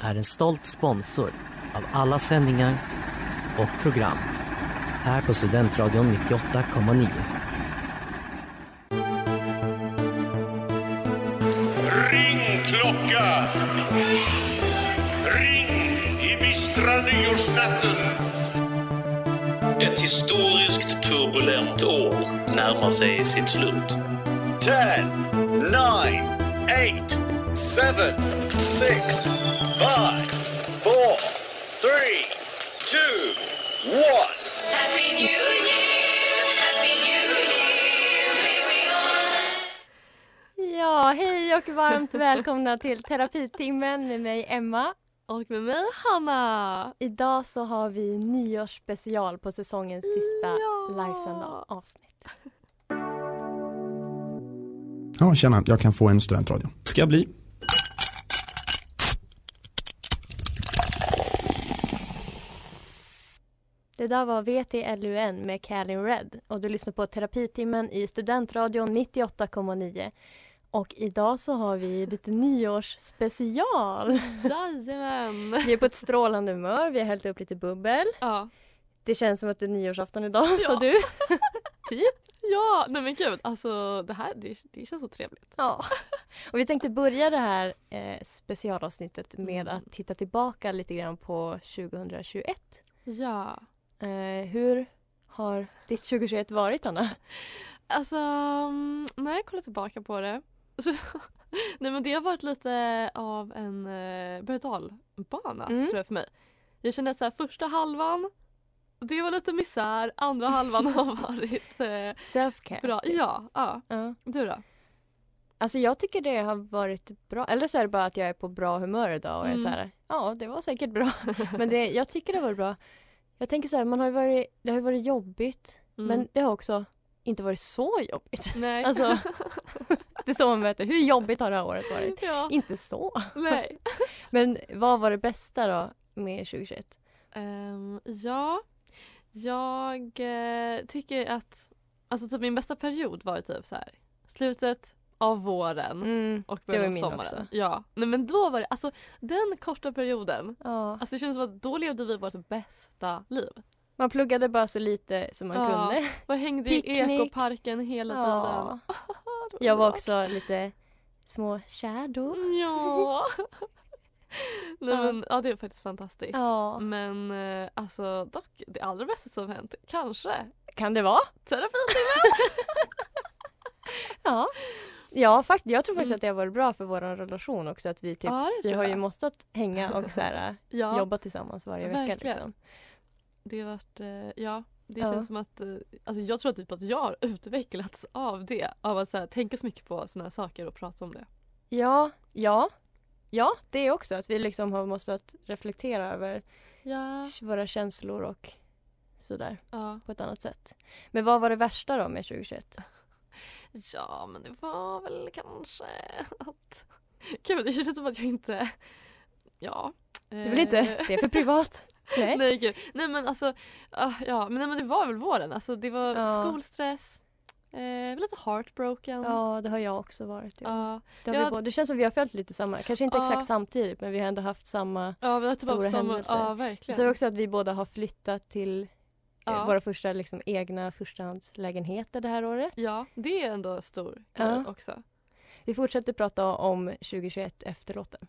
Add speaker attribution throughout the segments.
Speaker 1: är en stolt sponsor av alla sändningar och program här på Studentradion 98,9.
Speaker 2: Ring klocka! Ring i bistra nyårsnatten!
Speaker 3: Ett historiskt turbulent år närmar sig sitt slut.
Speaker 2: 10, 9, 8, 7, 6, 5, 4, 3, 2, 1.
Speaker 4: Happy New Year! Happy New Year! May we all
Speaker 5: Ja, hej och varmt välkomna till terapitimmen med mig Emma. Och med mig Hanna. Idag så har vi nyårsspecial på säsongens sista livesända avsnitt.
Speaker 6: Ja, tjena, jag kan få en studentradio.
Speaker 7: Ska bli.
Speaker 5: Det där var VTLUN med Calin Red och du lyssnar på terapitimmen i Studentradion 98,9. Och idag så har vi lite nyårsspecial.
Speaker 8: Jajamän!
Speaker 5: Vi är på ett strålande humör, vi har hällt upp lite bubbel.
Speaker 8: Ja.
Speaker 5: Det känns som att det är nyårsafton idag, sa
Speaker 8: Ja.
Speaker 5: du. typ.
Speaker 8: ja, nej men gud alltså det här det, det känns så trevligt.
Speaker 5: Ja. Och vi tänkte börja det här eh, specialavsnittet med
Speaker 8: Mm.
Speaker 5: att titta tillbaka lite grann på 2021.
Speaker 8: Ja.
Speaker 5: Eh, hur har ditt 2021 varit, Anna?
Speaker 8: Alltså mm, när jag kollar tillbaka på det. Så, nej men det har varit lite av en eh, berg och dalbana
Speaker 5: Mm.
Speaker 8: tror jag för mig. Jag kände så här första halvan det var lite misär, andra halvan har varit eh,
Speaker 5: Selfcare.
Speaker 8: bra. Ja, ja.
Speaker 5: Ja.
Speaker 8: Du då?
Speaker 5: Alltså jag tycker det har varit bra. Eller så är det bara att jag är på bra humör idag och är
Speaker 8: Mm.
Speaker 5: så här, ja det var säkert bra. Men det, jag tycker det var bra. Jag tänker så här, man har ju varit, det har ju varit jobbigt
Speaker 8: Mm.
Speaker 5: men det har också inte varit så jobbigt.
Speaker 8: Nej.
Speaker 5: Alltså, det är så man mäter. Hur jobbigt har det här året varit?
Speaker 8: ja.
Speaker 5: Inte så.
Speaker 8: Nej.
Speaker 5: Men vad var det bästa då med 2021?
Speaker 8: Ehm, ja, jag eh, tycker att alltså typ min bästa period var ju typ så här slutet av våren
Speaker 5: Mm.
Speaker 8: och
Speaker 5: det var
Speaker 8: början av
Speaker 5: min
Speaker 8: sommaren.
Speaker 5: också.
Speaker 8: Ja, nej men då var det alltså den korta perioden.
Speaker 5: Ja.
Speaker 8: Alltså det känns som att då levde vi vårt bästa liv.
Speaker 5: Man pluggade bara så lite som man
Speaker 8: Ja,
Speaker 5: kunde.
Speaker 8: Vi hängde
Speaker 5: Picknick.
Speaker 8: i ekoparken hela
Speaker 5: Ja.
Speaker 8: tiden. Det
Speaker 5: Jag var
Speaker 8: underbart.
Speaker 5: också lite små kär då.
Speaker 8: Ja. nej
Speaker 5: Ja.
Speaker 8: men ja det är faktiskt fantastiskt.
Speaker 5: Ja.
Speaker 8: Men eh, alltså dock det allra bästa som hänt kanske
Speaker 5: Kan det vara?
Speaker 8: terapi.
Speaker 5: Ja. Ja, fakt- jag tror faktiskt
Speaker 8: Mm.
Speaker 5: att det har varit bra för vår relation också att vi typ
Speaker 8: Ja, det
Speaker 5: Vi
Speaker 8: tror
Speaker 5: har ju
Speaker 8: jag.
Speaker 5: måste hänga och så här,
Speaker 8: Ja.
Speaker 5: jobba tillsammans varje vecka.
Speaker 8: Verkligen.
Speaker 5: Liksom.
Speaker 8: Det har varit, eh, ja. Det
Speaker 5: Ja.
Speaker 8: känns som att, eh, alltså jag tror typ att jag har utvecklats av det. Av att så här, tänka så mycket på sådana här saker och prata om det.
Speaker 5: Ja, ja, ja, det också. Att vi liksom har måste att reflektera över
Speaker 8: Ja.
Speaker 5: våra känslor och sådär
Speaker 8: ja.
Speaker 5: på ett annat sätt. Men vad var det värsta då med 2021?
Speaker 8: Ja men det var väl kanske att... Gud det känns som att jag inte... Ja. Eh,
Speaker 5: Du vill inte? Det är för privat. Eh. Nej.
Speaker 8: Nej gud. Nej men alltså. ah, ja men, nej, men det var väl våren. Alltså det var
Speaker 5: Ja.
Speaker 8: skolstress. Eh, lite heartbroken.
Speaker 5: Ja, det har jag också varit. Ja.
Speaker 8: Ja.
Speaker 5: Det, har vi
Speaker 8: Ja.
Speaker 5: båda. det känns som vi har följt lite samma, kanske inte
Speaker 8: Ja.
Speaker 5: exakt samtidigt men vi har ändå haft samma.
Speaker 8: Ja, vi har typ
Speaker 5: Stora
Speaker 8: haft samma-
Speaker 5: händelser.
Speaker 8: Ja
Speaker 5: Så
Speaker 8: verkligen.
Speaker 5: är det också att vi båda har flyttat till eh,
Speaker 8: Ja.
Speaker 5: våra första liksom, egna förstahandslägenheter det här året.
Speaker 8: Ja, det är ändå stor
Speaker 5: Ja.
Speaker 8: grej också.
Speaker 5: Vi fortsätter prata om 2021 efter låten.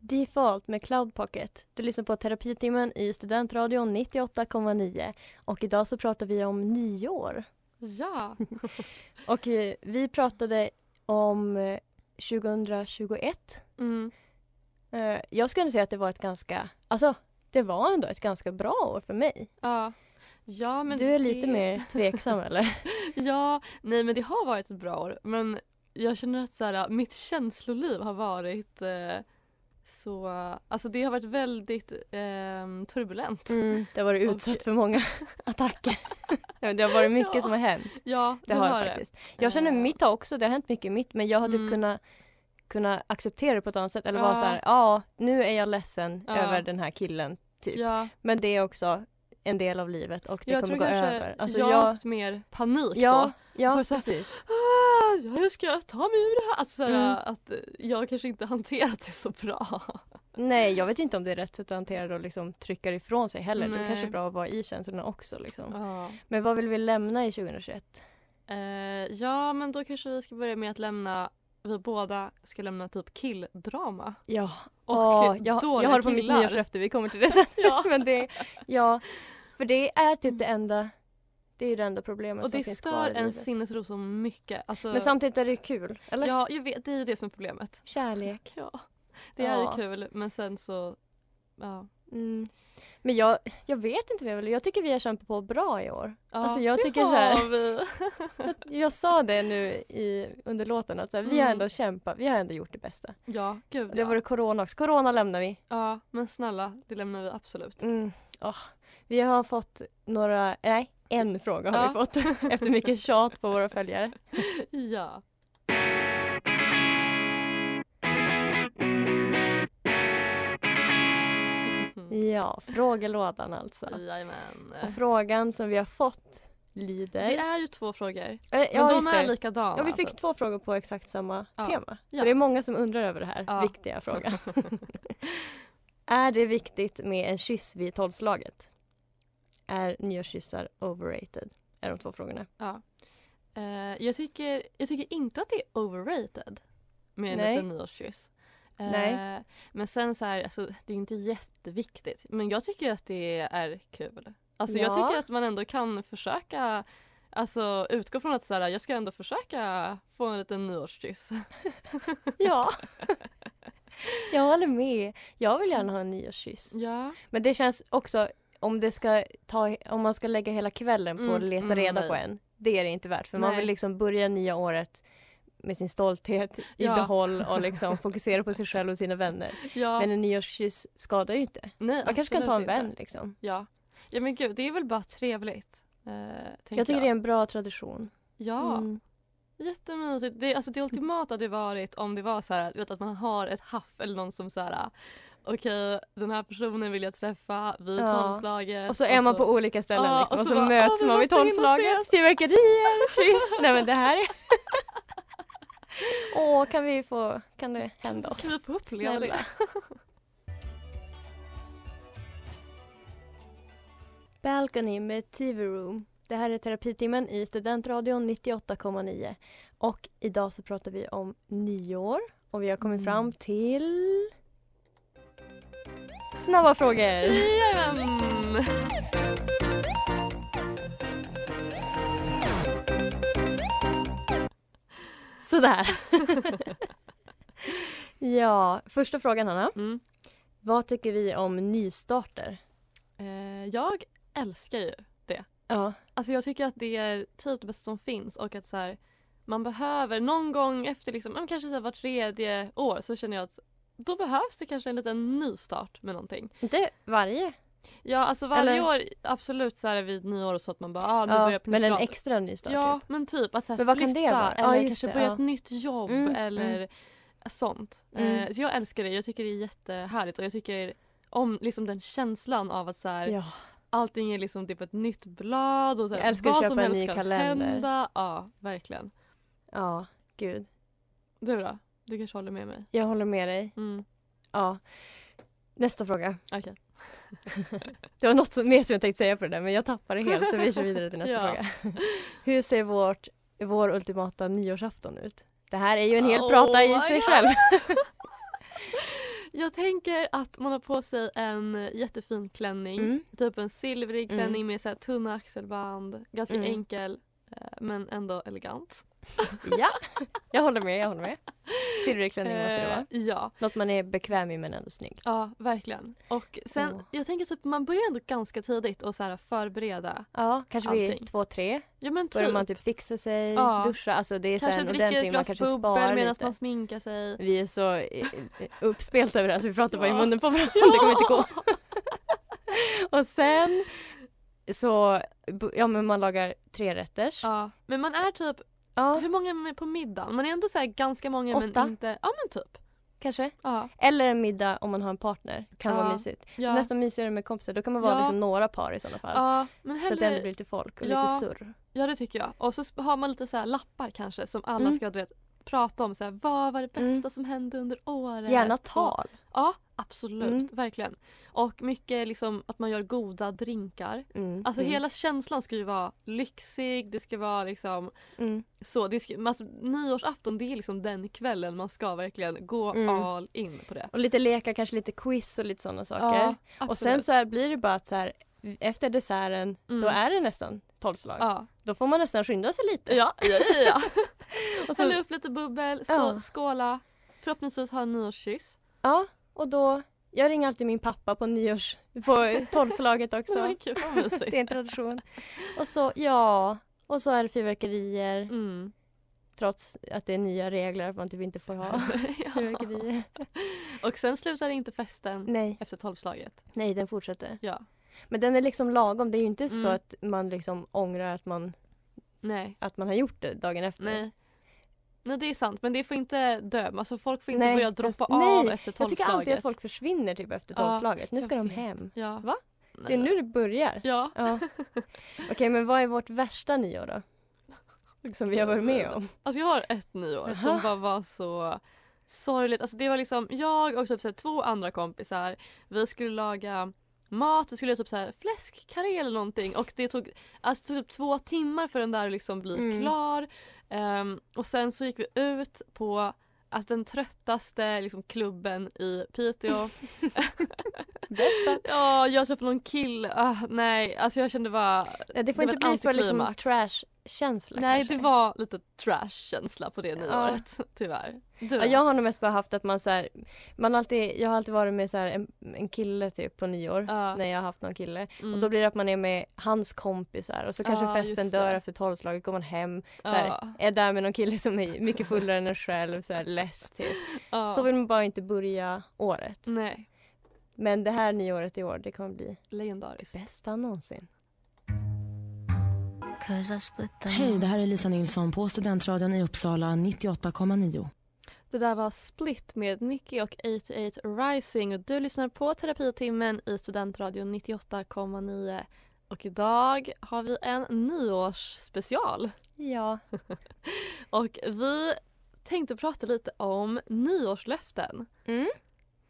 Speaker 5: Default med Cloud Pocket. Du lyssnar på terapitimmen i Studentradion 98,9 och idag så pratar vi om nyår.
Speaker 8: Ja.
Speaker 5: Och eh, vi pratade om eh, 2021.
Speaker 8: Mm.
Speaker 5: Eh, Jag skulle säga att det var ett ganska, alltså det var ändå ett ganska bra år för mig.
Speaker 8: Ja. Ja, men
Speaker 5: du är
Speaker 8: det-
Speaker 5: lite mer tveksam eller?
Speaker 8: Ja, nej men det har varit ett bra år. Men jag känner att så här, mitt känsloliv har varit eh, så... Alltså det har varit väldigt eh, turbulent.
Speaker 5: Mm, det har varit
Speaker 8: Och-
Speaker 5: utsatt för många attacker. Ja, Det har varit mycket
Speaker 8: Ja.
Speaker 5: som har hänt.
Speaker 8: Ja,
Speaker 5: Det har det faktiskt. Jag känner
Speaker 8: Eh.
Speaker 5: mitt har också, det har hänt mycket i mitt men jag har typ
Speaker 8: Mm.
Speaker 5: kunnat kunna acceptera det på ett annat sätt eller vara
Speaker 8: Ja.
Speaker 5: så här, ja nu är jag ledsen
Speaker 8: Ja.
Speaker 5: över den här killen typ.
Speaker 8: Ja,
Speaker 5: Men det är också en del av livet och det
Speaker 8: jag
Speaker 5: kommer
Speaker 8: tror
Speaker 5: gå
Speaker 8: kanske
Speaker 5: över. Alltså,
Speaker 8: jag har
Speaker 5: jag,
Speaker 8: haft mer panik
Speaker 5: ja,
Speaker 8: då.
Speaker 5: ja
Speaker 8: Var så här,
Speaker 5: precis.
Speaker 8: Ah, ja, hur ska jag ta mig ur det här? Alltså, så här
Speaker 5: Mm.
Speaker 8: att eh, jag kanske inte hanterat det så bra.
Speaker 5: Nej jag vet inte om det är rätt sätt att hantera det och liksom trycka det ifrån sig heller. Det är
Speaker 8: Nej.
Speaker 5: kanske är bra att vara i känslorna också. Liksom.
Speaker 8: Ja.
Speaker 5: Men vad vill vi lämna i 2021?
Speaker 8: Eh, ja, men då kanske vi ska börja med att lämna vi båda ska lämna typ killdrama.
Speaker 5: Ja,
Speaker 8: Och
Speaker 5: Åh, jag,
Speaker 8: dåliga
Speaker 5: jag har det på mitt
Speaker 8: killar.
Speaker 5: nyårslöfte, vi kommer till det sen.
Speaker 8: Ja.
Speaker 5: Men det, ja, för det är typ det enda, det är ju det enda problemet
Speaker 8: Och
Speaker 5: som
Speaker 8: det
Speaker 5: finns kvar
Speaker 8: stör
Speaker 5: i
Speaker 8: en
Speaker 5: livet.
Speaker 8: sinnesro så mycket. Alltså,
Speaker 5: Men samtidigt är det ju kul, eller?
Speaker 8: Ja, jag vet, det är ju det som är problemet.
Speaker 5: Kärlek.
Speaker 8: Ja. Det
Speaker 5: Ja.
Speaker 8: är ju kul men sen så... Ja.
Speaker 5: Mm. Men jag, jag vet inte vad jag vill, jag tycker vi har kämpat på bra i år.
Speaker 8: ja
Speaker 5: Alltså, jag
Speaker 8: det
Speaker 5: tycker så
Speaker 8: har
Speaker 5: här-
Speaker 8: vi.
Speaker 5: Jag sa det nu i, under låten att så här, vi har
Speaker 8: Mm.
Speaker 5: ändå kämpat, vi har ändå gjort det bästa.
Speaker 8: ja, gud
Speaker 5: Det
Speaker 8: ja.
Speaker 5: var det corona också, corona lämnar vi.
Speaker 8: ja. Men snälla, det lämnar vi absolut.
Speaker 5: Mm. Åh, Vi har fått några, nej en fråga har
Speaker 8: Ja.
Speaker 5: vi fått efter mycket tjat på våra följare.
Speaker 8: Ja. Mm.
Speaker 5: Ja, frågelådan alltså.
Speaker 8: Jajamän.
Speaker 5: Och frågan som vi har fått lyder...
Speaker 8: Det är ju två frågor.
Speaker 5: Eh,
Speaker 8: Men
Speaker 5: ja,
Speaker 8: de
Speaker 5: just
Speaker 8: är
Speaker 5: det.
Speaker 8: likadana.
Speaker 5: Ja, vi fick
Speaker 8: typ.
Speaker 5: två frågor på exakt samma
Speaker 8: Ja.
Speaker 5: tema. Så
Speaker 8: Ja.
Speaker 5: det är många som undrar över det här
Speaker 8: Ja.
Speaker 5: viktiga frågan. är det viktigt med en kyss vid tolvslaget? Är nyårskyssar overrated? Är de två frågorna.
Speaker 8: Ja. Eh, jag, tycker, jag tycker inte att det är overrated med en
Speaker 5: Nej.
Speaker 8: liten nyårskyss. Eh,
Speaker 5: Nej.
Speaker 8: Men sen så här, alltså, det är ju inte jätteviktigt. Men jag tycker att det är kul. Alltså, Jag
Speaker 5: Ja.
Speaker 8: tycker att man ändå kan försöka Alltså utgå från att så här, jag ska ändå försöka få en liten nyårskyss.
Speaker 5: Ja. Jag håller med. Jag vill gärna ha en nyårskyss.
Speaker 8: Ja.
Speaker 5: Men det känns också om, det ska ta, om man ska lägga hela kvällen på
Speaker 8: Mm,
Speaker 5: att leta
Speaker 8: mm,
Speaker 5: reda
Speaker 8: nej.
Speaker 5: på en. Det är det inte värt för man
Speaker 8: Nej.
Speaker 5: vill liksom börja nya året med sin stolthet i
Speaker 8: Ja.
Speaker 5: behåll och liksom fokusera på sig själv och sina vänner.
Speaker 8: ja.
Speaker 5: Men en nyårskyss skadar ju inte.
Speaker 8: Nej,
Speaker 5: Man kanske kan ta en
Speaker 8: absolut
Speaker 5: vän
Speaker 8: inte.
Speaker 5: liksom.
Speaker 8: Ja. ja men gud det är väl bara trevligt. Eh,
Speaker 5: Jag tycker det är en bra tradition.
Speaker 8: Ja.
Speaker 5: Mm.
Speaker 8: Jättemysigt. Det, alltså det ultimata hade ju varit om det var så här, du vet, att man har ett haff eller någon som så här okej den här personen vill jag träffa vid
Speaker 5: Ja.
Speaker 8: tolvslaget.
Speaker 5: Och så är man på olika ställen
Speaker 8: Ja,
Speaker 5: liksom,
Speaker 8: och
Speaker 5: och
Speaker 8: så
Speaker 5: så,
Speaker 8: bara,
Speaker 5: möts
Speaker 8: "Åh, vi
Speaker 5: man vid
Speaker 8: måste hinna
Speaker 5: tolvslaget,
Speaker 8: ses."
Speaker 5: fyrverkerier, kyss. Nej men det här är... Åh, kan vi få... Kan det hända oss?
Speaker 8: Kan vi få uppleva
Speaker 5: Snälla.
Speaker 8: det?
Speaker 5: Balcony med TV Room. Det här är terapitimmen i Studentradion 98,9. Och idag så pratar vi om nyår och vi har kommit fram till... Snabba frågor!
Speaker 8: Jajamän!
Speaker 5: Sådär. ja, första frågan Hanna.
Speaker 8: Mm.
Speaker 5: Vad tycker vi om nystarter?
Speaker 8: Eh, jag älskar ju
Speaker 5: Ja.
Speaker 8: Alltså jag tycker att det är typ det bästa som finns och att så här, man behöver någon gång efter liksom, ja, men kanske så här var tredje år så känner jag att då behövs det kanske en liten nystart med någonting.
Speaker 5: Inte varje.
Speaker 8: Ja alltså varje
Speaker 5: Eller-
Speaker 8: år absolut så här vid nyår och så att man bara ah, nu
Speaker 5: Ja,
Speaker 8: börjar jag på
Speaker 5: men
Speaker 8: nytt
Speaker 5: en
Speaker 8: plan.
Speaker 5: extra nystart.
Speaker 8: Ja
Speaker 5: typ.
Speaker 8: men typ att så här,
Speaker 5: Men vad kan det
Speaker 8: flytta
Speaker 5: vara? Ja,
Speaker 8: eller
Speaker 5: just
Speaker 8: kanske
Speaker 5: det,
Speaker 8: börja
Speaker 5: ja.
Speaker 8: ett nytt jobb
Speaker 5: Mm,
Speaker 8: eller sånt.
Speaker 5: Mm.
Speaker 8: Eh, så jag älskar det, jag tycker det är jättehärligt och jag tycker om liksom den känslan av att så här,
Speaker 5: Ja.
Speaker 8: Allting är liksom typ ett nytt blad och så här,
Speaker 5: Jag älskar att
Speaker 8: vad
Speaker 5: köpa
Speaker 8: som
Speaker 5: en
Speaker 8: helst
Speaker 5: ny
Speaker 8: kan
Speaker 5: kalender.
Speaker 8: hända. Ja, verkligen.
Speaker 5: ja, gud.
Speaker 8: Du då? Du kanske håller med mig?
Speaker 5: Jag håller med dig.
Speaker 8: Mm.
Speaker 5: Ja. Nästa fråga.
Speaker 8: Okej.
Speaker 5: Det var något som, mer som jag tänkte säga på det där men jag tappade det helt så vi kör vidare till nästa
Speaker 8: Ja.
Speaker 5: fråga. Hur ser vårt, vår ultimata nyårsafton ut? Det här är ju en hel prata i
Speaker 8: Oh
Speaker 5: sig
Speaker 8: my
Speaker 5: själv.
Speaker 8: Jag tänker att man har på sig en jättefin klänning.
Speaker 5: Mm.
Speaker 8: Typ en silvrig
Speaker 5: Mm.
Speaker 8: klänning med så här tunna axelband. Ganska
Speaker 5: Mm.
Speaker 8: enkel eh, men ändå elegant.
Speaker 5: Ja, jag håller med. Jag håller med. Silvrig klänning måste det
Speaker 8: Eh,
Speaker 5: vara.
Speaker 8: Ja,
Speaker 5: Något man är bekväm i men ändå snygg.
Speaker 8: ja verkligen. Och sen,
Speaker 5: Åh.
Speaker 8: jag tänker typ man börjar ändå ganska tidigt och så här förbereda.
Speaker 5: Ja, kanske vid
Speaker 8: Allting.
Speaker 5: två, tre.
Speaker 8: Ja men
Speaker 5: Börjar
Speaker 8: typ.
Speaker 5: man typ fixa sig,
Speaker 8: Ja.
Speaker 5: duscha. Alltså det är så
Speaker 8: kanske
Speaker 5: här en
Speaker 8: dricka
Speaker 5: ordentlig,
Speaker 8: ett
Speaker 5: man
Speaker 8: glas
Speaker 5: kanske sparar
Speaker 8: bubbel medan
Speaker 5: lite.
Speaker 8: man sminkar sig.
Speaker 5: Vi är så eh, eh, uppspelta över det här så vi pratar bara i
Speaker 8: Ja.
Speaker 5: munnen på varandra. Det kommer inte gå. Och sen så, bu- ja men man lagar tre rätters.
Speaker 8: Ja, men man är typ,
Speaker 5: Ja,
Speaker 8: hur många är man på middagen? Man är ändå så här ganska många
Speaker 5: Åtta.
Speaker 8: men inte, ja men typ.
Speaker 5: kanske.
Speaker 8: Ja,
Speaker 5: Eller en middag om man har en partner. Kan
Speaker 8: Ja.
Speaker 5: vara mysigt.
Speaker 8: ja.
Speaker 5: Nästan mysigare med kompisar. Då kan man vara
Speaker 8: Ja.
Speaker 5: liksom några par i sådana fall.
Speaker 8: ja men
Speaker 5: Så att det ändå
Speaker 8: hellre,
Speaker 5: blir lite folk och
Speaker 8: Ja.
Speaker 5: lite surr.
Speaker 8: ja det tycker jag. Och så sp- har man lite så här lappar kanske som alla
Speaker 5: Mm.
Speaker 8: ska du vet, prata om. Så här, vad var det bästa
Speaker 5: Mm.
Speaker 8: som hände under året?
Speaker 5: Gärna
Speaker 8: Och,
Speaker 5: tal.
Speaker 8: ja, absolut.
Speaker 5: Mm.
Speaker 8: Verkligen. Och mycket liksom att man gör goda drinkar.
Speaker 5: Mm.
Speaker 8: Alltså
Speaker 5: mm.
Speaker 8: hela känslan ska ju vara lyxig, det ska vara liksom
Speaker 5: Mm.
Speaker 8: så. Det ska, alltså, nyårsafton det är liksom den kvällen man ska verkligen gå
Speaker 5: Mm.
Speaker 8: all in på det.
Speaker 5: Och lite leka, kanske lite quiz och lite sådana saker.
Speaker 8: Ja,
Speaker 5: och sen
Speaker 8: absolut.
Speaker 5: så här blir det bara att så här, efter desserten,
Speaker 8: Mm.
Speaker 5: då är det nästan tolvslag.
Speaker 8: Ja,
Speaker 5: Då får man nästan skynda sig lite.
Speaker 8: ja, ja. ja, ja.
Speaker 5: Och,
Speaker 8: Häll
Speaker 5: så,
Speaker 8: upp lite bubbel, stå,
Speaker 5: Alltså- Ja.
Speaker 8: skåla. Förhoppningsvis ha en nyårskyss.
Speaker 5: ja, och då, jag ringer alltid min pappa på nyårs, på tolvslaget också.
Speaker 8: Men gud, vad mysigt.
Speaker 5: det är en tradition. Och så, ja, och så är det fyrverkerier
Speaker 8: Mm.
Speaker 5: trots att det är nya regler att man typ inte får ha
Speaker 8: ja.
Speaker 5: fyrverkerier.
Speaker 8: Och sen slutar inte festen
Speaker 5: Nej,
Speaker 8: efter tolvslaget.
Speaker 5: nej den fortsätter.
Speaker 8: Ja.
Speaker 5: Men den är liksom lagom, det är ju inte så
Speaker 8: Mm.
Speaker 5: att man liksom ångrar att man,
Speaker 8: Nej.
Speaker 5: att man har gjort det dagen efter.
Speaker 8: Nej. Nej det är sant men det får inte dö. Alltså folk får inte
Speaker 5: Nej,
Speaker 8: börja
Speaker 5: jag-
Speaker 8: droppa
Speaker 5: nej.
Speaker 8: av efter tolvslaget.
Speaker 5: Jag tycker alltid att folk försvinner typ efter
Speaker 8: Ja,
Speaker 5: tolvslaget. nu
Speaker 8: Jag
Speaker 5: ska de
Speaker 8: vet.
Speaker 5: hem.
Speaker 8: Ja.
Speaker 5: Va? Det är
Speaker 8: Nej.
Speaker 5: nu det börjar.
Speaker 8: Ja.
Speaker 5: Ja. Okej, men vad är vårt värsta nyår då? Som vi har varit med om.
Speaker 8: Alltså jag har ett nyår som
Speaker 5: Jaha.
Speaker 8: bara var så sorgligt. Alltså det var liksom jag och typ så här två andra kompisar. Vi skulle laga mat, vi skulle göra typ så här fläskkarré eller någonting och det tog, alltså det tog typ två timmar för den där att liksom bli
Speaker 5: Mm.
Speaker 8: klar. Ehm, och sen så gick vi ut på alltså den tröttaste liksom, klubben i Piteå.
Speaker 5: Bästa.
Speaker 8: ja, jag träffade någon kille. Ah, nej, alltså jag kände bara
Speaker 5: Nej, det får
Speaker 8: Det var
Speaker 5: inte bli
Speaker 8: ett
Speaker 5: för liksom
Speaker 8: antiklimax.
Speaker 5: trash-känsla
Speaker 8: Nej
Speaker 5: kanske.
Speaker 8: det var lite trash-känsla på det
Speaker 5: Ja.
Speaker 8: nyåret tyvärr. Du
Speaker 5: Ja, jag har nog mest bara haft att man så här, man alltid, jag har alltid varit med så här, en, en kille typ på nyår
Speaker 8: Ja.
Speaker 5: när jag har haft någon kille
Speaker 8: Mm.
Speaker 5: och då blir det att man är med hans kompisar och så kanske
Speaker 8: Ja,
Speaker 5: festen
Speaker 8: just det.
Speaker 5: dör efter tolvslaget, går man hem, så här,
Speaker 8: Ja.
Speaker 5: är där med någon kille som är mycket fullare än en själv, så här, less typ.
Speaker 8: Ja.
Speaker 5: Så vill man bara inte börja året.
Speaker 8: Nej,
Speaker 5: Men det här nyåret i år, det kommer bli
Speaker 8: legendariskt.
Speaker 5: bästa någonsin.
Speaker 7: Hej, det här är Lisa Nilsson på Studentradion i Uppsala 98,9.
Speaker 8: Det där var Split med Nicky och 88 Rising och du lyssnar på terapitimmen i Studentradion 98,9. Och idag har vi en nyårsspecial
Speaker 5: Ja.
Speaker 8: och vi tänkte prata lite om nyårslöften.
Speaker 5: Mm.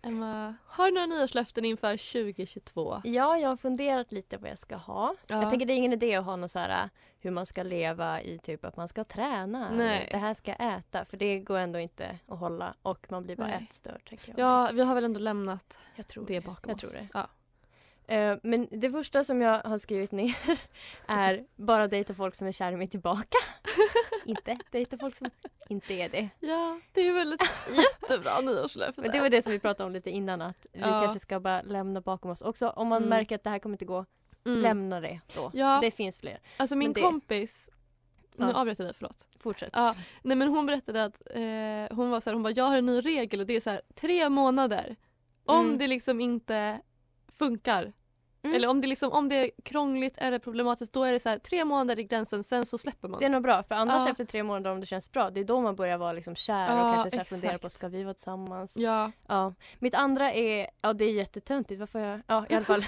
Speaker 8: Emma, har du några nyårslöften inför 2022?
Speaker 5: ja, jag har funderat lite vad jag ska ha.
Speaker 8: Ja.
Speaker 5: Jag tänker det är ingen idé att ha någon så här äh, hur man ska leva i typ att man ska träna. eller
Speaker 8: Nej.
Speaker 5: Det här ska jag äta för det går ändå inte att hålla och man blir bara
Speaker 8: Nej.
Speaker 5: ätstörd. Tänker jag.
Speaker 8: Ja, vi har väl ändå lämnat
Speaker 5: jag tror
Speaker 8: det bakom
Speaker 5: Jag
Speaker 8: oss.
Speaker 5: tror det.
Speaker 8: Ja.
Speaker 5: Eh, Men det första som jag har skrivit ner är bara dejta folk som är kära i mig tillbaka. inte dejta folk som inte är det.
Speaker 8: ja, det är väl ett jättebra nyårslöfte.
Speaker 5: Men det var det som vi pratade om lite innan att vi
Speaker 8: Ja.
Speaker 5: kanske ska bara lämna bakom oss också. Om man
Speaker 8: Mm.
Speaker 5: märker att det här kommer inte gå,
Speaker 8: Mm.
Speaker 5: lämna det då.
Speaker 8: Ja.
Speaker 5: Det finns fler.
Speaker 8: Alltså min
Speaker 5: Men det-
Speaker 8: kompis, nu
Speaker 5: Ja.
Speaker 8: avbröt jag dig, förlåt.
Speaker 5: Fortsätt.
Speaker 8: Ja, nej men hon berättade att eh, hon var så här, hon bara jag har en ny regel och det är så här tre månader. Om
Speaker 5: Mm.
Speaker 8: det liksom inte funkar
Speaker 5: Mm.
Speaker 8: eller om det liksom om det är krångligt eller problematiskt då är det så här tre månader i gränsen sen så släpper man.
Speaker 5: Det är nog bra för annars
Speaker 8: Ja.
Speaker 5: efter tre månader om det känns bra det är då man börjar vara liksom kär
Speaker 8: Ja,
Speaker 5: och kanske så här fundera
Speaker 8: exakt.
Speaker 5: på ska vi vara tillsammans? Ja.
Speaker 8: Ja,
Speaker 5: Mitt andra är, ja det är jättetöntigt varför jag, ja i alla fall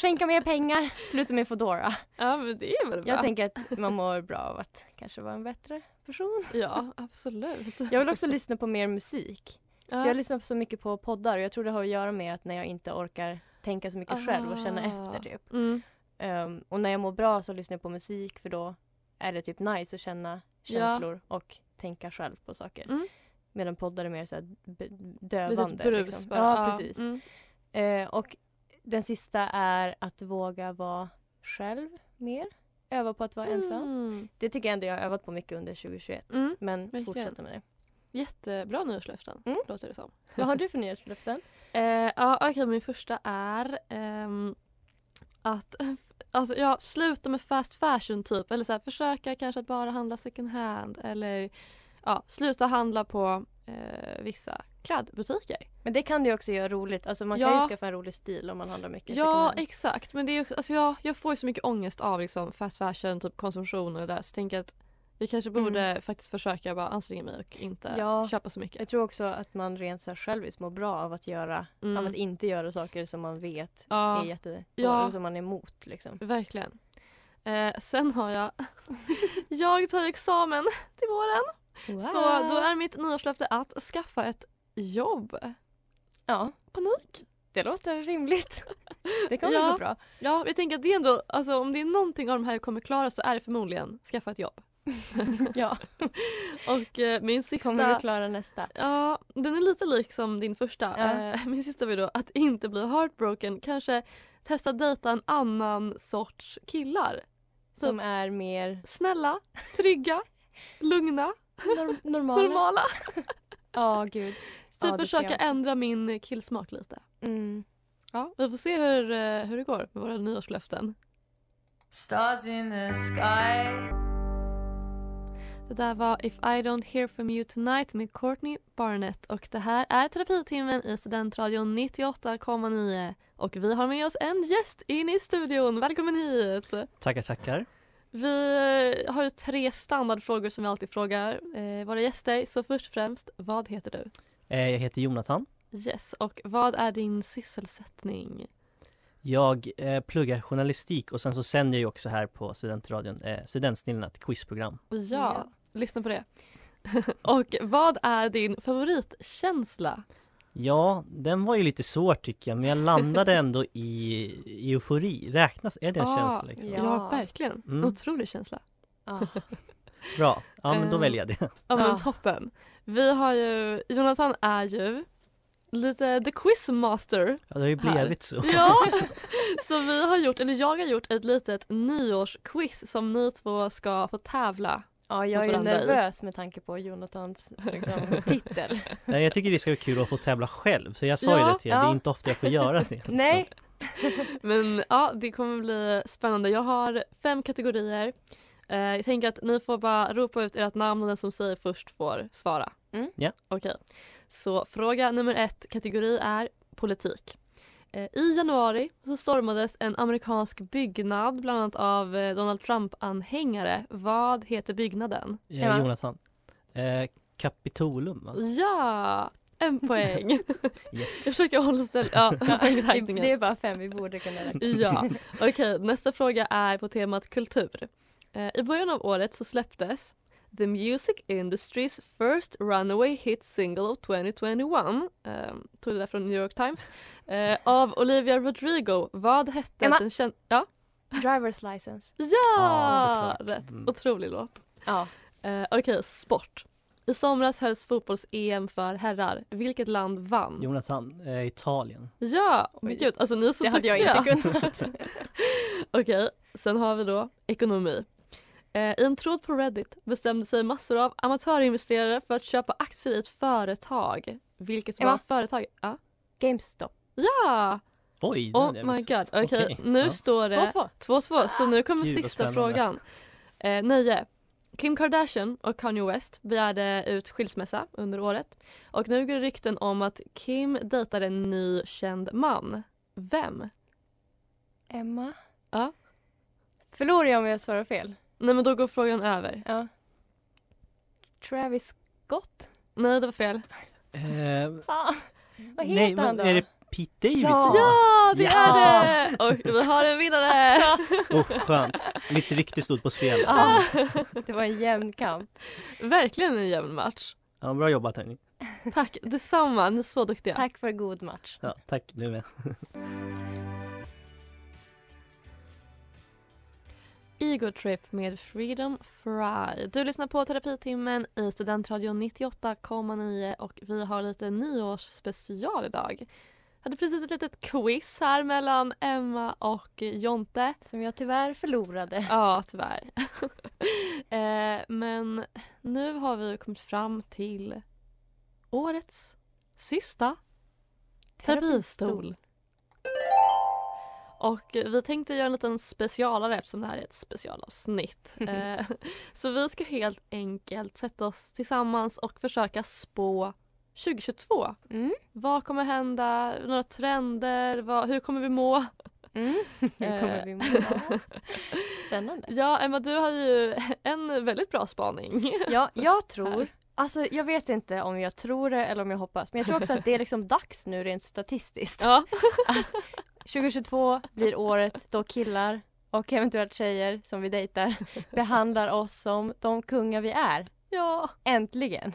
Speaker 5: skänka mer pengar, sluta med Foodora.
Speaker 8: ja men det är väl bra.
Speaker 5: Jag tänker att man mår bra av att kanske vara en bättre person.
Speaker 8: Ja absolut.
Speaker 5: Jag vill också lyssna på mer musik. För
Speaker 8: Ja.
Speaker 5: jag lyssnar så mycket på poddar och jag tror det har att göra med att när jag inte orkar tänka så mycket själv och känna
Speaker 8: Ah.
Speaker 5: efter typ.
Speaker 8: Mm.
Speaker 5: Ehm, och när jag mår bra så lyssnar jag på musik för då är det typ nice att känna
Speaker 8: Ja.
Speaker 5: känslor och tänka själv på saker.
Speaker 8: Mm.
Speaker 5: Medan poddar är mer så här b- dövande.
Speaker 8: brus
Speaker 5: liksom.
Speaker 8: bara.
Speaker 5: Ja,
Speaker 8: Ja,
Speaker 5: precis.
Speaker 8: mm.
Speaker 5: Eh, och den sista är att våga vara själv mer. Öva på att vara ensam.
Speaker 8: Mm.
Speaker 5: Det tycker jag ändå jag har övat på mycket under 2021.
Speaker 8: Mm,
Speaker 5: Men
Speaker 8: verkligen.
Speaker 5: fortsätta med det.
Speaker 8: Jättebra nyårslöften låter det som.
Speaker 5: Vad har du för nyårslöften?
Speaker 8: Eh, ja, okej, min första är ehm, att alltså, ja, sluta med fast fashion typ. Eller så här, försöka kanske att bara handla second hand. Eller ja, sluta handla på eh, vissa klädbutiker.
Speaker 5: Men det kan du ju också göra roligt. Alltså man kan
Speaker 8: Ja.
Speaker 5: ju skaffa en rolig stil om man handlar mycket. second
Speaker 8: Ja
Speaker 5: hand.
Speaker 8: exakt men det är, ju- alltså jag, jag får ju så mycket ångest av liksom fast fashion, typ konsumtion och det där så jag tänker att jag kanske borde faktiskt försöka bara anstränga mig och inte
Speaker 5: Ja.
Speaker 8: köpa så mycket.
Speaker 5: Jag tror också att man rent så här självis mår bra av att, göra,
Speaker 8: Mm.
Speaker 5: av att inte göra saker som man vet
Speaker 8: Ja.
Speaker 5: är jättedåligt
Speaker 8: Ja.
Speaker 5: och som man är emot. Liksom.
Speaker 8: Verkligen. Eh, sen har jag, jag tar examen till våren. Så då är mitt nyårslöfte att skaffa ett jobb.
Speaker 5: Ja.
Speaker 8: Panik.
Speaker 5: Det låter rimligt. Det kommer
Speaker 8: ja.
Speaker 5: gå bra.
Speaker 8: Ja, jag tänker att det är ändå, alltså, om det är någonting av de här jag kommer klara så är det förmodligen skaffa ett jobb.
Speaker 5: ja.
Speaker 8: Och eh, min sista...
Speaker 5: Kommer du klara nästa?
Speaker 8: Ja, den är lite lik som din första.
Speaker 5: Ja.
Speaker 8: Eh, Min sista var ju då att inte bli heartbroken. Kanske testa dejta en annan sorts killar.
Speaker 5: Som är mer...
Speaker 8: Snälla, trygga, lugna,
Speaker 5: normala.
Speaker 8: normala.
Speaker 5: Ja, gud.
Speaker 8: Typ
Speaker 5: Ja, det ska jag
Speaker 8: försöka
Speaker 5: också.
Speaker 8: ändra min killsmak lite.
Speaker 5: Mm.
Speaker 8: Ja, vi får se hur, eh, hur det går med våra nyårslöften.
Speaker 4: Stars in the sky.
Speaker 8: Det där var If I Don't Hear From You Tonight med Courtney Barnett och det här är Terapitimmen i Studentradion 98,9 och vi har med oss en gäst in i studion. Välkommen hit!
Speaker 1: Tackar, tackar.
Speaker 8: Vi eh, har ju tre standardfrågor som vi alltid frågar eh, våra gäster. Så först och främst, vad heter du?
Speaker 1: Eh, Jag heter Jonathan.
Speaker 8: Yes, och vad är din sysselsättning?
Speaker 1: Jag eh, pluggar journalistik och sen så sänder jag ju också här på studentradion, eh, Studentsnillena, ett quizprogram.
Speaker 8: Ja, lyssna på det. och vad är din favoritkänsla?
Speaker 1: Ja, den var ju lite svår tycker jag, men jag landade ändå i, i eufori. Räknas, är det en känsla liksom?
Speaker 8: Ah, Ja, verkligen.
Speaker 1: Mm.
Speaker 8: Otrolig känsla.
Speaker 1: Bra, ja men då
Speaker 8: Eh,
Speaker 1: väljer jag det.
Speaker 8: Ja men
Speaker 1: Ja.
Speaker 8: toppen. Vi har ju, Jonathan är ju lite the quizmaster.
Speaker 1: Ja, det har ju
Speaker 8: här.
Speaker 1: blivit så.
Speaker 8: Ja, så vi har gjort, eller jag har gjort ett litet nyårsquiz som ni två ska få tävla
Speaker 5: Ja, jag
Speaker 8: mot
Speaker 5: är ju
Speaker 8: varandra i.
Speaker 5: nervös med tanke på Jonathans liksom, titel.
Speaker 1: Nej, jag tycker det ska vara kul att få tävla själv, för jag sa
Speaker 8: Ja,
Speaker 1: ju det till er, det är
Speaker 8: ja.
Speaker 1: inte ofta jag får göra det. liksom.
Speaker 8: Men ja, det kommer bli spännande. Jag har fem kategorier. Eh, jag tänker att ni får bara ropa ut ert namn och den som säger först får svara.
Speaker 1: Ja.
Speaker 8: Okej. Så fråga nummer ett, kategori är politik. Eh, I januari så stormades en amerikansk byggnad bland annat av eh, Donald Trump-anhängare. Vad heter byggnaden?
Speaker 1: Eh, Jonathan. Eh, Kapitolum
Speaker 8: Mm.
Speaker 1: va?
Speaker 8: Ja, en poäng.
Speaker 1: Yes.
Speaker 8: Jag försöker hålla ställ... Ja, poängräkningen.
Speaker 5: det är bara fem, vi borde kunna räkna.
Speaker 8: Ja, okej. Nästa fråga är på temat kultur. Eh, I början av året så släpptes The Music Industry's First Runaway Hit Single of 2021, eh, tog det där från New York Times, eh, av Olivia Rodrigo. Vad hette
Speaker 5: Emma.
Speaker 8: den kända... Ja,
Speaker 5: Driver's license.
Speaker 8: ja
Speaker 5: Ja, såklart.
Speaker 8: rätt.
Speaker 5: Mm.
Speaker 8: Otrolig låt.
Speaker 5: Ja.
Speaker 8: Eh, okej, sport. I somras hölls fotbolls-EM för herrar. Vilket land vann?
Speaker 1: Jonathan, eh, Italien.
Speaker 8: Ja, men gud, alltså ni är så
Speaker 5: Det hade
Speaker 8: duktiga.
Speaker 5: jag inte kunnat.
Speaker 8: Okej, sen har vi då ekonomi. Eh, I en tråd på Reddit bestämde sig massor av amatörinvesterare för att köpa aktier i ett företag. Vilket var
Speaker 5: Emma?
Speaker 8: företag? Ja.
Speaker 5: GameStop.
Speaker 8: Ja!
Speaker 1: Oj, den
Speaker 8: Oh
Speaker 1: är
Speaker 8: my
Speaker 1: miss.
Speaker 8: god. Okej,
Speaker 1: Okej,
Speaker 8: nu
Speaker 1: ja.
Speaker 8: står det
Speaker 1: 2-2.
Speaker 8: 2-2. Så nu kommer
Speaker 1: Gud, vad
Speaker 8: sista
Speaker 1: spännande.
Speaker 8: frågan. Eh, nio. Kim Kardashian och Kanye West begärde ut skilsmässa under året. Och nu går det rykten om att Kim dejtar en ny känd man. Vem?
Speaker 5: Emma.
Speaker 8: Ja.
Speaker 5: Förlorar jag om jag svarar fel?
Speaker 8: Nej men då går frågan över.
Speaker 5: Ja. Travis Scott?
Speaker 8: Nej det var fel.
Speaker 1: Eh,
Speaker 5: Fan. Vad heter
Speaker 1: nej,
Speaker 5: han
Speaker 1: men
Speaker 5: då?
Speaker 1: är det Pete Davidson?
Speaker 8: Ja, det
Speaker 1: Ja.
Speaker 8: är det! Och vi har en vinnare!
Speaker 1: Åh, skönt. Mitt rykte stod på spel.
Speaker 8: Ah.
Speaker 5: Ja. Det var en jämn kamp.
Speaker 8: Verkligen en jämn match.
Speaker 1: Ja, bra jobbat hörni.
Speaker 8: Tack detsamma, ni är så duktiga.
Speaker 5: Tack för god match.
Speaker 1: Ja, tack, du med.
Speaker 8: I Ego-trip med Freedom Fry. Du lyssnar på terapitimmen i Studentradion 98,9 och vi har lite nyårsspecial idag. Jag hade precis ett litet quiz här mellan Emma och Jonte.
Speaker 5: Som jag tyvärr förlorade.
Speaker 8: Ja, tyvärr. eh, men nu har vi kommit fram till årets sista terapistol. Och vi tänkte göra en liten specialare eftersom det här är ett specialavsnitt. Eh, Så vi ska helt enkelt sätta oss tillsammans och försöka spå 2022. Vad kommer hända? Några trender? Vad, hur kommer vi må?
Speaker 5: Hur Mm. kommer vi må?
Speaker 8: Eh,
Speaker 5: Spännande.
Speaker 8: Ja, Emma, du har ju en väldigt bra spaning.
Speaker 5: Ja, jag tror... Alltså jag vet inte om jag tror det eller om jag hoppas men jag tror också att det är liksom dags nu rent statistiskt. Att 2022 blir året då killar och eventuellt tjejer som vi dejtar behandlar oss som de kungar vi är.
Speaker 8: Ja.
Speaker 5: Äntligen!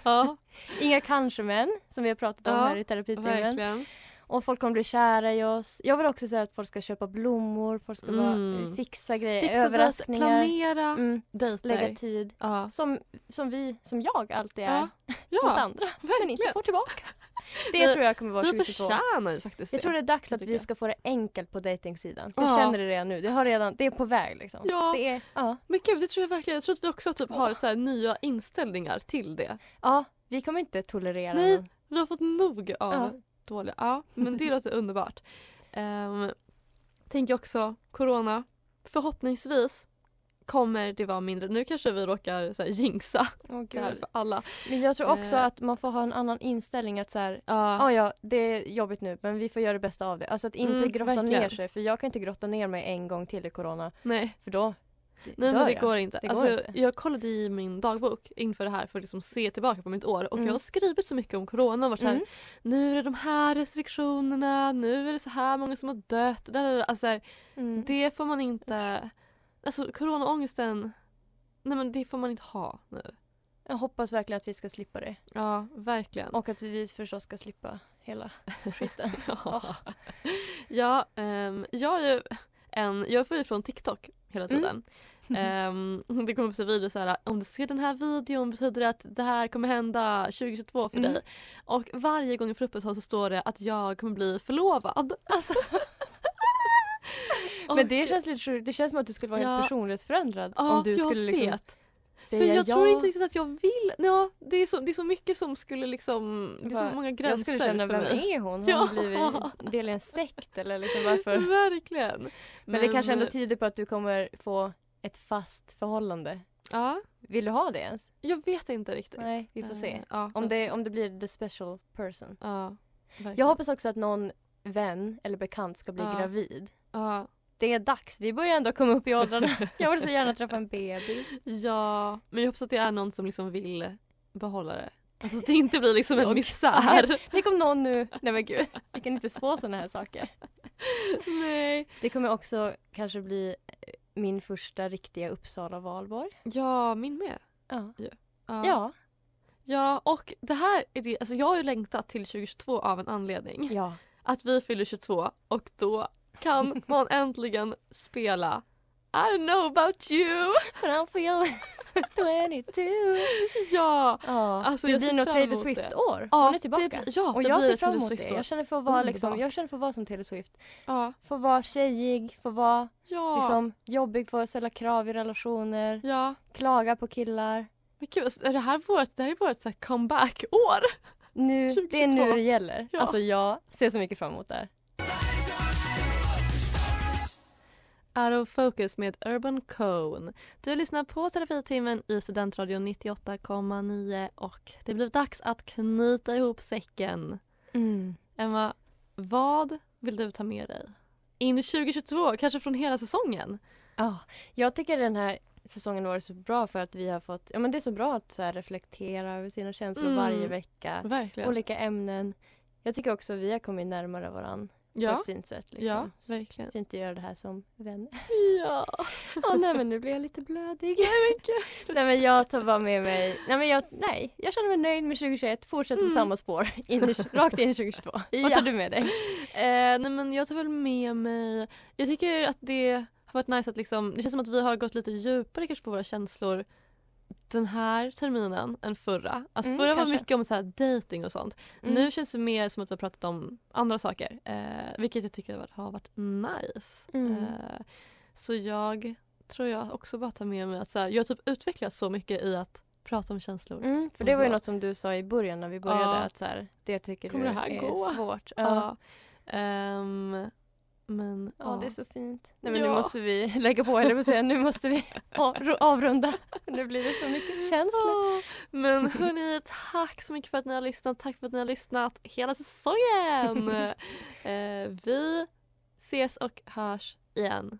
Speaker 5: Inga kanske-män som vi har pratat om
Speaker 8: Ja,
Speaker 5: här i Eh, terapitimmen.
Speaker 8: verkligen.
Speaker 5: Och folk kommer bli kära i oss. Jag vill också säga att folk ska köpa blommor, folk ska
Speaker 8: Mm.
Speaker 5: bara fixa grejer,
Speaker 8: Fixa deras-
Speaker 5: överraskningar.
Speaker 8: planera
Speaker 5: mm.
Speaker 8: dejter.
Speaker 5: Lägga tid. Som, som vi, som jag alltid är
Speaker 8: Ja,
Speaker 5: mot andra. Men inte får tillbaka. Det
Speaker 8: Vi-
Speaker 5: tror jag kommer vara
Speaker 8: vi
Speaker 5: 2022.
Speaker 8: förtjänar ju faktiskt
Speaker 5: Jag
Speaker 8: det,
Speaker 5: tror det är dags att
Speaker 8: tycker
Speaker 5: vi ska få det enkelt på dejtingsidan. Jag
Speaker 8: Ja.
Speaker 5: känner det redan nu. Det, har redan, det är på väg liksom.
Speaker 8: Ja.
Speaker 5: Det är, ja.
Speaker 8: Men gud, det tror jag verkligen. Jag tror att vi också typ har så här nya inställningar till det.
Speaker 5: Ja, vi kommer inte tolerera
Speaker 8: Nej,
Speaker 5: någon.
Speaker 8: vi har fått nog av
Speaker 5: Ja.
Speaker 8: dåliga. Ja, men det låter underbart. Um, tänker också corona. Förhoppningsvis kommer det vara mindre. Nu kanske vi råkar så här, jinxa
Speaker 5: Åh,
Speaker 8: det här
Speaker 5: gud.
Speaker 8: för alla.
Speaker 5: Men jag tror också
Speaker 8: Eh.
Speaker 5: att man får ha en annan inställning att så här, ja ja, det är jobbigt nu men vi får göra det bästa av det. Alltså att inte
Speaker 8: Mm,
Speaker 5: grotta
Speaker 8: verkligen.
Speaker 5: ner sig för jag kan inte grotta ner mig en gång till i corona.
Speaker 8: Nej.
Speaker 5: För då
Speaker 8: Nej
Speaker 5: dör
Speaker 8: men det
Speaker 5: jag.
Speaker 8: går inte.
Speaker 5: Det går
Speaker 8: alltså,
Speaker 5: inte.
Speaker 8: Jag kollade i min dagbok inför det här för att liksom se tillbaka på mitt år och
Speaker 5: Mm.
Speaker 8: jag har skrivit så mycket om corona och varit så
Speaker 5: Mm.
Speaker 8: här, nu är det de här restriktionerna, nu är det så här många som har dött. Där, där, där. Alltså, så här,
Speaker 5: Mm.
Speaker 8: Det får man inte, alltså coronaångesten, nej men det får man inte ha nu.
Speaker 5: Jag hoppas verkligen att vi ska slippa det.
Speaker 8: Ja, verkligen.
Speaker 5: Och att vi förstås ska slippa hela skiten. Åh.
Speaker 8: Ja, ehm, jag är ju en, jag får ju från TikTok hela
Speaker 5: Mm.
Speaker 8: tiden. Ehm, det kommer upp så videor så här, om du ser den här videon betyder det att det här kommer hända 2022 för
Speaker 5: Mm.
Speaker 8: dig. Och varje gång jag får upp en sån så står det att jag kommer bli förlovad.
Speaker 5: Alltså. Men det känns lite sjukt. Det känns som att du skulle vara
Speaker 8: Ja.
Speaker 5: helt personlighetsförändrad
Speaker 8: Ja,
Speaker 5: om du
Speaker 8: jag
Speaker 5: skulle liksom
Speaker 8: vet.
Speaker 5: säga
Speaker 8: För jag
Speaker 5: ja.
Speaker 8: tror inte riktigt att jag vill. Ja, det, är så, det är så mycket som skulle liksom, det är
Speaker 5: Bara,
Speaker 8: så många gränser
Speaker 5: jag skulle känna,
Speaker 8: för
Speaker 5: vem
Speaker 8: mig.
Speaker 5: är hon? Har
Speaker 8: Ja.
Speaker 5: hon blivit del i en sekt eller liksom varför? Men,
Speaker 8: Verkligen. Men,
Speaker 5: det kanske ändå tyder på att du kommer få ett fast förhållande.
Speaker 8: Ja.
Speaker 5: Vill du ha det ens?
Speaker 8: Jag vet inte riktigt.
Speaker 5: Nej, vi får se.
Speaker 8: Eh, ja,
Speaker 5: om,
Speaker 8: jag
Speaker 5: det,
Speaker 8: får
Speaker 5: om det blir the special person.
Speaker 8: Ja,
Speaker 5: jag hoppas också att någon vän eller bekant ska bli
Speaker 8: Ja.
Speaker 5: gravid.
Speaker 8: Ja.
Speaker 5: Det är dags. Vi börjar ändå komma upp i åldrarna. jag vill så gärna träffa en bebis.
Speaker 8: Ja, men jag hoppas att det är någon som liksom vill behålla det. Alltså att det inte blir liksom en
Speaker 5: Och-
Speaker 8: misär.
Speaker 5: Tänk om någon nu... Nej men gud, vi kan inte spå sådana här saker.
Speaker 8: Nej.
Speaker 5: Det kommer också kanske bli eh, min första riktiga Uppsala-valborg.
Speaker 8: Ja, min med.
Speaker 5: Ja.
Speaker 8: Ja.
Speaker 5: Ja.
Speaker 8: Ja, och det här är det, alltså jag har ju längtat till 2022 av en anledning.
Speaker 5: Ja.
Speaker 8: Att vi fyller 22 och då kan man äntligen spela I don't know about you.
Speaker 5: But I'm feeling 22.
Speaker 8: Ja,
Speaker 5: Ja,
Speaker 8: alltså
Speaker 5: det
Speaker 8: jag
Speaker 5: blir
Speaker 8: ser
Speaker 5: nog
Speaker 8: fram
Speaker 5: Taylor
Speaker 8: emot det.
Speaker 5: Swift-år.
Speaker 8: Ja,
Speaker 5: Hon är
Speaker 8: det
Speaker 5: tillbaka.
Speaker 8: blir- ja,
Speaker 5: och
Speaker 8: det
Speaker 5: jag
Speaker 8: blir typ
Speaker 5: ser
Speaker 8: ett
Speaker 5: fram
Speaker 8: Taylor
Speaker 5: emot det.
Speaker 8: Swift-år.
Speaker 5: Jag känner för att vara, liksom,
Speaker 8: Underbart.
Speaker 5: jag känner för att vara som Taylor Swift.
Speaker 8: Ja.
Speaker 5: Få vara tjejig, få vara
Speaker 8: Ja.
Speaker 5: liksom, jobbig, få ställa krav i relationer,
Speaker 8: ja.
Speaker 5: klaga på killar.
Speaker 8: Men gud, alltså, är det här vårt, det här är vårt så här comeback-år?
Speaker 5: Nu, det är nu
Speaker 8: 2022.
Speaker 5: det gäller.
Speaker 8: Ja.
Speaker 5: Alltså jag ser så mycket fram emot det här.
Speaker 8: Out of focus med Urban Cone. Du lyssnar på Terapitimmen i Studentradion 98,9 och det blir dags att knyta ihop säcken. Mm. Emma, vad vill du ta med dig in i 2022? Kanske från hela säsongen?
Speaker 5: Ja, jag tycker den här säsongen har varit så bra för att vi har fått, ja men det är så bra att så här reflektera över sina känslor
Speaker 8: Mm.
Speaker 5: varje vecka.
Speaker 8: Verkligen.
Speaker 5: Olika ämnen. Jag tycker också vi har kommit närmare varann
Speaker 8: Ja.
Speaker 5: på ett fint sätt. Liksom.
Speaker 8: Ja, verkligen.
Speaker 5: Fint att göra det här som vänner.
Speaker 8: Ja.
Speaker 5: Ja, nej men nu blir jag lite blödig. nej men jag tar bara med mig, nej men jag, nej, jag känner mig nöjd med 2021, fortsätt på
Speaker 8: Mm.
Speaker 5: samma spår, in i, rakt in i 2022. Vad
Speaker 8: Ja.
Speaker 5: tar du med dig?
Speaker 8: Eh, nej men jag tar väl med mig, jag tycker att det har varit nice att liksom, det känns som att vi har gått lite djupare kanske på våra känslor den här terminen än förra. Alltså
Speaker 5: Mm,
Speaker 8: förra var
Speaker 5: kanske.
Speaker 8: mycket om så här dating och sånt.
Speaker 5: Mm.
Speaker 8: Nu känns det mer som att vi har pratat om andra saker. Eh, vilket jag tycker har varit- har varit nice.
Speaker 5: Mm.
Speaker 8: Eh, så jag tror jag också bara tar med mig att så här, jag har typ utvecklats så mycket i att prata om känslor.
Speaker 5: Mm, för
Speaker 8: Och
Speaker 5: det var ju
Speaker 8: så.
Speaker 5: något som du sa i början när vi började
Speaker 8: Ja.
Speaker 5: att så här, det tycker
Speaker 8: Kommer
Speaker 5: du
Speaker 8: det här
Speaker 5: är
Speaker 8: gå?
Speaker 5: svårt. Ja.
Speaker 8: Ja. Ehm, men
Speaker 5: Ja, det är så fint. Nej men
Speaker 8: Ja.
Speaker 5: nu måste vi lägga på eller säga nu måste vi av- avrunda. Nu blir det så mycket känslor.
Speaker 8: Ja, Men hörni, tack så mycket för att ni har lyssnat. Tack för att ni har lyssnat hela säsongen. eh, vi ses och hörs igen.